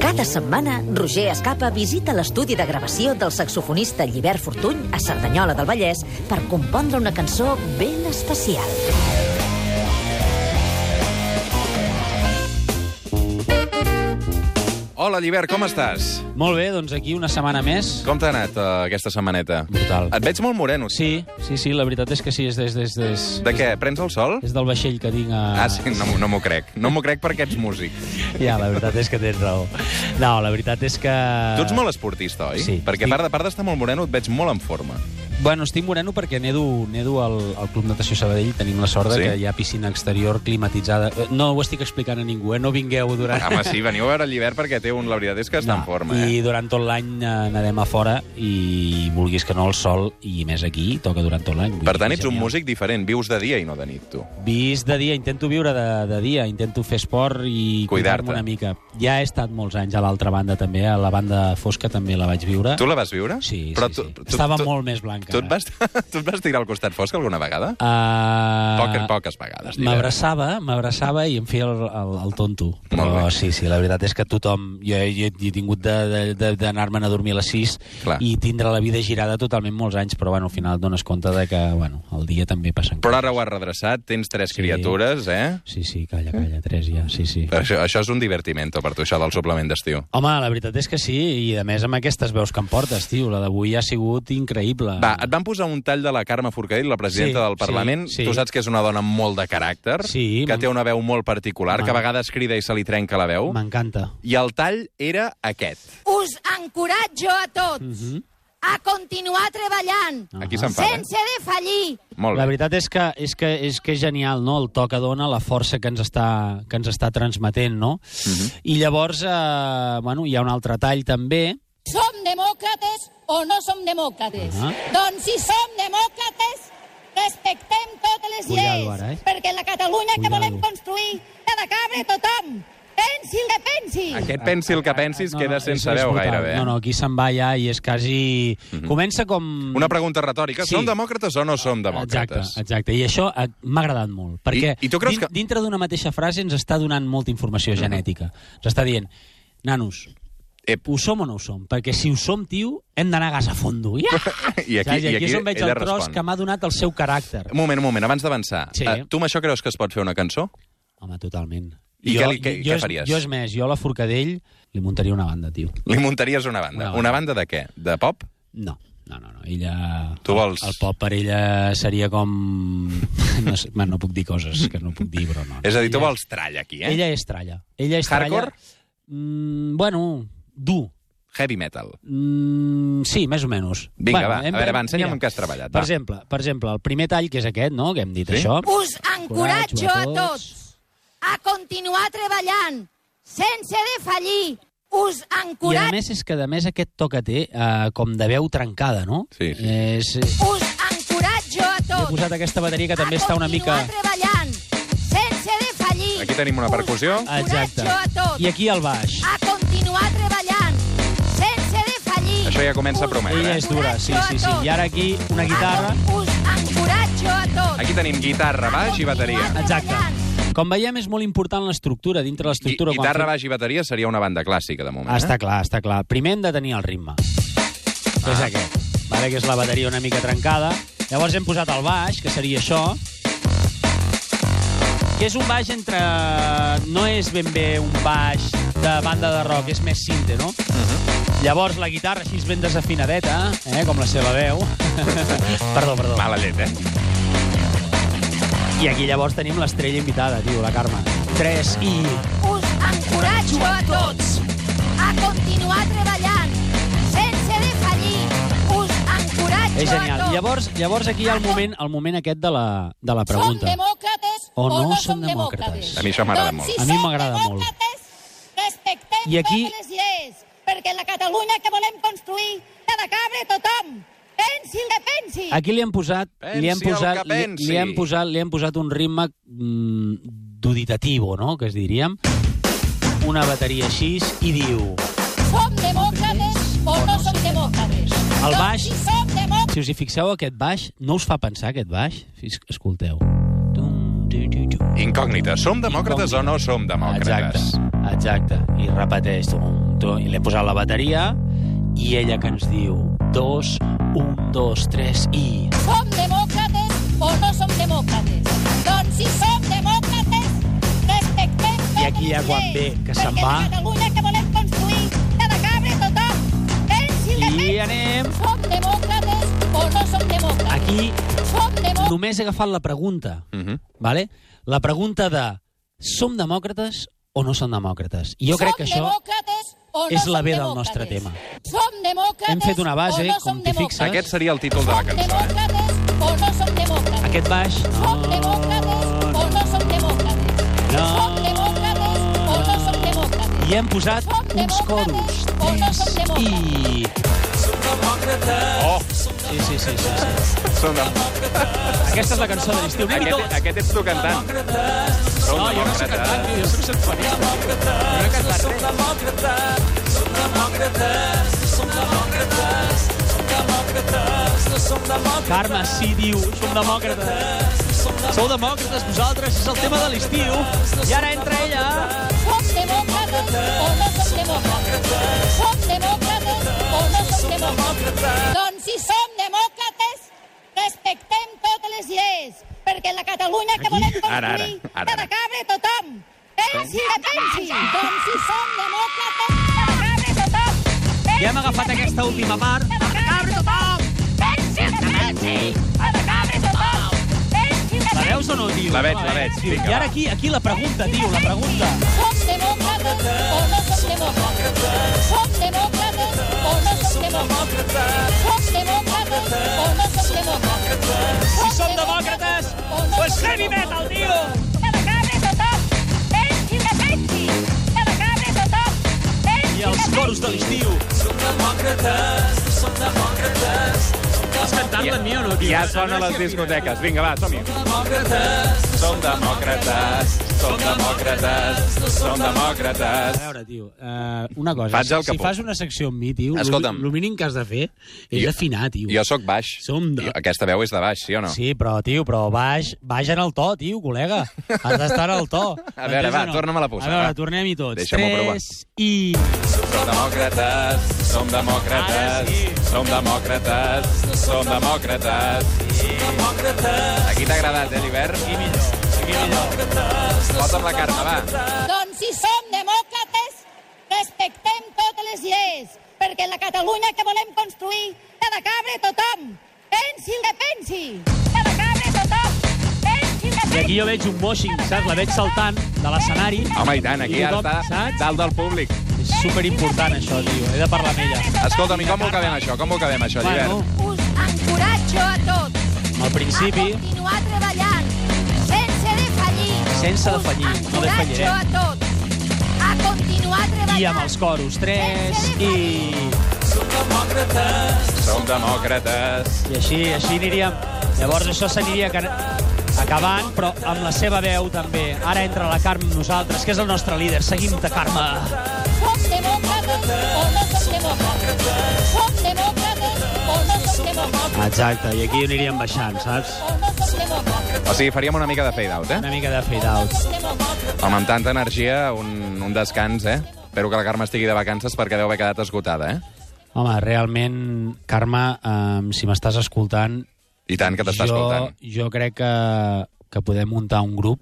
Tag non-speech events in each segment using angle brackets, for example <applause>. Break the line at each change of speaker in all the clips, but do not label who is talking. Cada setmana, Roger Escapa visita l'estudi de gravació del saxofonista Llibert Fortuny a Cerdanyola del Vallès per compondre una cançó ben especial.
Hola, Llibert, com estàs?
Molt bé, doncs aquí una setmana més.
Com t'ha anat uh, aquesta setmaneta?
Brutal.
Et veig molt moreno.
Sí, sí, sí, la veritat és que sí, és, és, és, és,
De què? Prens el sol?
és del vaixell que tinc a...
Ah, sí, no, m'ho- no m'ho crec. No m'ho crec perquè ets músic.
Ja, la veritat és que tens raó. No, la veritat és que...
Tu ets molt esportista, oi?
sí.
Perquè a
Estic-
part, a part d'estar molt moreno, et veig molt en forma.
Bueno, estic moreno perquè nedo, nedo al, al Club Natació Sabadell. Tenim la sort de
Sí?
que hi ha piscina exterior climatitzada. Eh, No ho estic explicant a ningú, eh? No vingueu durant...
Home, sí, veniu a veure el Llibert perquè té un... La veritat és que està en forma, eh?
I durant tot l'any eh, nedem a fora i vulguis que no el sol, i més aquí, toca durant tot l'any. Vull
Per
dir
tant,
que és
ets un
genial.
músic diferent. Vius de dia i no de nit, tu.
Vist de dia, intento viure de, de dia, intento fer esport i
Cuidar-te.
cuidar-me una mica. Ja he estat molts anys a l'altra banda també, a la banda fosca també la vaig viure.
Tu la vas viure?
Sí,
Però
sí, sí. Estava molt més blanca.
Tu et, vas, tu et vas <laughs> tirar al costat fosc alguna vegada?
Uh,
Poques, poques vegades, Llibert.
M'abraçava, m'abraçava i em feia el, el, el tonto.
Molt
Però
bé.
sí, sí, la veritat és que tothom... Jo, jo, jo he tingut de- de- de- d'anar-me'n a dormir a les 6
Clar.
i tindre la vida girada totalment molts anys, però bueno, al final et dones compte de que bueno, el dia també passen
Però
coses.
ara ho has redreçat, tens tres
Sí.
criatures, eh?
Sí, sí, calla, calla, tres ja, sí, sí.
Això, això és un divertimento per tu, això del suplement d'estiu.
Home, la veritat és que sí, i a més amb aquestes veus que em portes, tio, la d'avui ha sigut increïble.
Va, et van posar un tall de la Carme Forcadell, la presidenta
Sí,
del Parlament.
sí, sí.
Tu saps que és una dona amb molt de caràcter,
Sí,
que
m'en-
té una veu molt particular, que a
m'en-
vegades crida i se li trenca la veu.
M'encanta.
I el tall era aquest.
Us encoratjo a tots
Mhm.
a continuar treballant
Ah,
Aquí se'n parla.
sense defallir.
Molt
La
bé.
veritat és que és que és que és genial, no? El to que dona, la força que ens està que ens està transmetent, no?
Mhm.
I llavors, eh, bueno, hi ha un altre tall també.
Som demòcrates o no som demòcrates?
Ah.
Doncs si som demòcrates, respectem totes les
Cuidado
lleis,
ara, eh?
perquè la Catalunya que
Cuidado.
volem construir ha de cabre tothom. Pensi el que pensi.
Aquest pensi
Ah,
el que pensis queda sense
és- és
veu
brutal.
gairebé. eh? Mhm.
No, no, aquí se'n va ja i és quasi... Comença com...
Una pregunta retòrica.
Sí.
Som demòcrates o no som demòcrates?
Exacte, exacte. I això eh, m'ha agradat molt, perquè
I- i tu creus
din-
que- Mhm.
dintre d'una mateixa frase ens està donant molta informació genètica. Ens està dient, nanos,
Ep.
ho som o no ho som? Perquè si ho som, tio, hem d'anar a gas
<laughs>
a fondo. Ja!
I aquí-
Saps?
i
I
aquí
aquí és on veig
ella
el tros
respon.
que m'ha donat el seu caràcter.
Un moment, un moment, abans d'avançar.
Sí.
Eh, tu amb això creus que es pot fer una cançó?
Home, totalment.
I què li- què- què
és-
faries?
Jo és més, jo a la Forcadell li muntaria una banda, tio.
Li muntaries una banda.
Una
Una,
banda.
banda de què? De pop?
No, no, no, no. Ella...
Tu vols-
El, el pop per ella seria com... <laughs> No, sé, bueno, no puc dir coses que no puc dir, però no.
És a dir, tu
Ella-
vols trall aquí, eh?
Ella és tralla. Ella és
Hardcore?
tralla... Mm, bueno, dur.
Heavy metal.
Mm, sí, més o menys.
Vinga,
bueno,
va, a veure, va, ensenya'm
mira,
en què has treballat,
Per
va.
exemple, per exemple, el primer tall, que és aquest, no?, que hem dit
Sí?
això.
Us encoratjo a tots a continuar treballant sense defallir. Us
I a
encoratjo
més és que, a més, aquest to que té, eh, com de veu trencada, no? Eh,
Sí, sí.
És,
Us encoratjo a
he
tots
posat aquesta bateria que també
a
està una mica...
continuar treballant sense defallir.
Aquí tenim una
Us
percussió.
encoratjo
Exacte.
a tots
I aquí el baix.
a continuar treballant sense defallir.
Això ja comença a
Us
prometre. eh?
Ella és dura, sí, sí, sí. I ara aquí una guitarra.
Us encoratjo a tots.
Aquí tenim guitarra, baix i bateria.
Exacte. Com veiem, és molt important l'estractura. Dintre
Gui-
l'estructura... quan
guitarra,
fem-
baix i bateria seria una banda clàssica, de moment. eh?
Ah, està clar, està clar. Primer hem de tenir el ritme, que és aquest. Vale, que és la bateria una mica trencada. Llavors hem posat el baix, que seria això. Que és un baix entre... No és ben bé un baix de banda de rock, és més cinte, no? Llavors la guitarra així ben desafinadeta, eh, com la seva veu. <laughs> perdó, perdó.
Eh? Mala llet, eh?
I aquí llavors tenim l'estrella invitada, tio, la Carme. 3 i...
Us encoratjo a tots a continuar treballant sense defallir. Us
És
encoratjo a
genial.
tots.
Llavors, llavors aquí hi ha el moment, el moment aquest de la, de la pregunta.
Som demòcrates
O
o no,
no
no
som
som demòcrates?
demòcrates?
A mi això m'agrada molt.
A mi m'agrada molt.
Doncs si som demòcrates, respectem
I aquí-
totes les lleis, perquè la Catalunya que volem construir ha de cabre tothom. Pensi el que pensi.
Aquí li han posat, li han
Pensi el
posat,
que
li,
pensi.
li han posat, li han posat un ritme mm, duditativo, no?, que es diríem. Una bateria així i diu...
Som demòcrates o no som demòcrates?
El baix-
Doncs si som demòcrates...
Si us hi fixeu, aquest baix, no us fa pensar, aquest baix? Fis- Escolteu. Tum, tu, tu, tu.
Incògnita. Som demòcrates o no som demòcrates?
Exacte, Exacte, i repeteix. tum, tum, I l'he posat la bateria i ella que ens diu dos, un, dos, tres i...
Som demòcrates o no som demòcrates? Doncs si som demòcrates, respectem totes
aquí ja
les
quan
lleis,
ve que se'n
perquè
va.
la Catalunya que volem construir ha de cabre tothom ells i la
I
gent.
anem...
Som demòcrates o no som demòcrates?
Aquí
Som demòcrates.
només he agafat la pregunta,
Mhm.
vale? la pregunta de som demòcrates o no som demòcrates? I jo crec que això...
demòcrates o
és la
som
ve del nostre
demòcrates?
tema.
Som demòcrates
Hem fet una base,
o no som
com t'hi fixes.
Aquest seria el títol de la
Som
cançó. eh?
demòcrates o no som demòcrates?
Aquest baix...
Som demòcrates o no som demòcrates?
No.
Som demòcrates o no som demòcrates?
I hem posat uns coros. Tres i...
Oh,
Sí, sí, sí. sí, sí.
som de...
Aquesta és la cançó de l'estiu. Anem-hi
aquest,
tots.
aquest ets tu cantant. Som
No, jo no
demòcrates.
soc cantant, tio, jo soc sinfonista. Jo no cantant res. Carme, sí, diu, som demòcrates. Sou demòcrates vosaltres, és el tema de l'estiu. I ara entra ella.
Som demòcrates o no som demòcrates? Som demòcrates o no som demòcrates? Doncs si som demòcrates, respectem totes les lleis, perquè la Catalunya que volem
Ara, ara, ara,
construir ha de
ara.
cabre tothom. Ells i la pensi. Doncs si som demòcrates, ha de cabre tothom.
I hem agafat aquesta última part.
Ha de cabre tothom. Ells i la pensi. Ha de cabre tothom. Ells i la
La
pensi.
veus o no, tio?
La veig, la veig.
Tio,
Vinga,
I ara
va.
aquí, aquí la pregunta, tio, la pregunta.
Som demòcrates o no som demòcrates? Som demòcrates o no som demòcrates? Som demòcrates o no som demòcrates?
Si som demòcrates,
o no
pues
som
heavy metal,
demòcrates?
tio!
Que de cabre tothom, ells qui defensi. Que de cabre tothom, ells
I
qui
els
defensi.
coros de l'estiu. Som demòcrates, som demòcrates. Estàs cantant la mia o no, tio?
Ja sona a les discoteques. Vinga, va, som-hi. Som demòcrates, som demòcrates, som demòcrates.
A veure, tio, uh, una cosa.
Faig el
si
que puc.
fas una secció amb mi, tio,
Escolta'm.
el mínim que has de fer és
Jo-
afinar, tio.
Jo sóc baix.
Som de-
Jo- Aquesta veu és de baix, sí o no?
Sí, però, tio, però baix, baix en el to, tio, col·lega. Has d'estar al to.
<laughs> A veure, va,
M'entens o
torna-me-la a posar,
A veure,
va.
tornem-hi tots.
Deixa'm-ho provar.
Tres i...
Som demòcrates, som
Ara sí.
som demòcrates, som demòcrates. Aquí t'ha agradat, eh, l'hivern?
Aquí millor, aquí millor.
Posa'm la carta, va.
Doncs si som demòcrates, respectem totes les lleis, perquè la Catalunya que volem construir ha de cabre tothom. Pensi el que pensi. Ha de cabre tothom. Pensi el que
I aquí
pensi.
jo veig un moixing, saps? La veig saltant de l'escenari.
Home, i tant, aquí
I
ja està
tothom, saps?
dalt del públic.
És superimportant, això, tio. He de parlar amb ella.
Escolta'm, i com ho acabem, això? Com ho acabem, això, l'hivern?
Us encoratjo a tots
al principi...
a continuar treballant sense defallir.
Sense defallir,
Us
no defallirem.
encoratjo a tots a continuar treballant.
I amb els coros, tres, i...
Som demòcrates.
I així, així aniríem. Llavors això s'aniria can- acabant, però amb la seva veu també. Ara entra la Carme amb nosaltres, que és el nostre líder. Seguim-te, Carme.
Som demòcrates o no som demòcrates. Som demòcrates o no som demòcrates.
Exacte, i aquí aniríem baixant, saps?
O no som demòcrates.
O sigui, faríem una mica de fade-out, eh?
Una mica de fade out.
Som demòcrates.
Home, amb tanta energia, un, un descans, eh? Espero que la Carme estigui de vacances perquè deu haver quedat esgotada, eh?
Home, realment, Carme, um, si m'estàs escoltant,
I tant, que t'està
jo,
escoltant.
jo crec que, que podem muntar un grup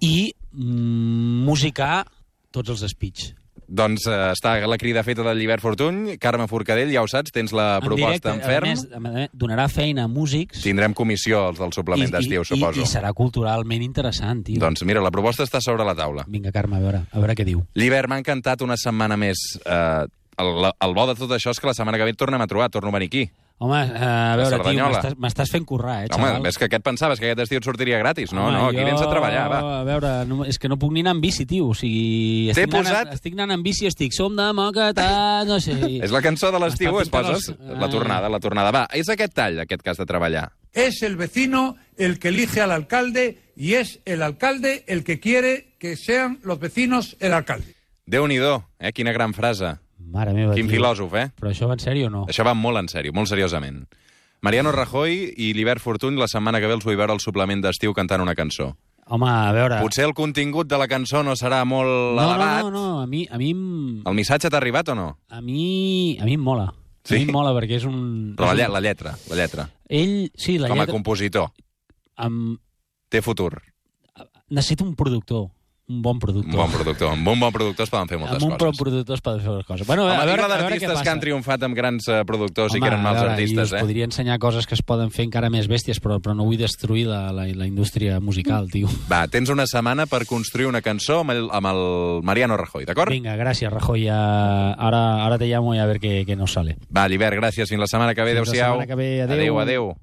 i mm, musicar tots els speech.
Doncs eh, està la crida feta del Llibert Fortuny. Carme Forcadell, ja ho saps, tens la proposta en ferm.
A més, donarà feina a músics.
Tindrem comissió els del suplement d'estiu, suposo.
I, I serà culturalment interessant, tio.
Doncs mira, la proposta està sobre la taula.
Vinga, Carme, a veure, a veure què diu.
Llibert, m'ha encantat una setmana més. Eh, el, la- el bo de tot això és que la setmana que ve et tornem a trobar, torno a venir aquí.
Home, eh, a veure, tio,
Cerdanyola.
m'estàs- m'estàs fent currar, eh,
Home,
xaval.
és que aquest pensaves que aquest estiu et sortiria gratis. No,
Home,
no, aquí
jo-
vens a treballar, va.
A veure, no, és que no puc ni anar amb bici, tio. O sigui, estic, anant,
posat-
estic anant amb bici, estic som de moqueta, no sé...
<laughs> És la cançó de l'estiu,
M'està
es poses?
pintant els-
La tornada, la tornada. Va, és aquest tall, aquest cas de treballar.
Es el vecino el que elige al alcalde y es el alcalde el que quiere que sean los vecinos el alcalde.
Déu-n'hi-do, eh? Quina gran frase.
Mare meva,
Quin
tio.
filòsof, eh?
Però això va en sèrio o no?
Això va molt en sèrio, molt seriosament. Mariano Rajoy i l'Hivert Fortuny la setmana que ve els vull veure al suplement d'estiu cantant una cançó.
Home, a veure...
Potser el contingut de la cançó no serà molt
Ah. no, no,
elevat.
no, no, a mi, a mi, em-
El missatge t'ha arribat o no?
a mi, a mi em mola.
Sí?
A mi em mola perquè és un...
Però la,
és
lle
un-
la lletra, la lletra.
Ell, sí, la
Com a
lletra...
compositor.
Amb...
Té futur.
Necessita un productor, un bon productor.
Un bon productor. Amb un bon productor es poden fer moltes
amb un bon
coses.
productor es poden fer les coses. Bueno,
Home,
a,
a
veure, a veure què
d'artistes
passa.
que han triomfat amb grans eh, productors i que eren
a
mals
veure,
artistes,
i us
eh?
podria ensenyar coses que es poden fer encara més bèsties, però, però no vull destruir la, la, la indústria musical, tio.
Va, tens una setmana per construir una cançó amb el, amb el Mariano Rajoy, d'acord?
Vinga, gràcies, Rajoy. Ja... Ara, ara te llamo i a ver què, què nos sale.
Va, Llibert, gràcies. Fins la setmana que ve.
Fins la
Adéu-siau.
setmana que ve. Adéu.
Adéu, adéu.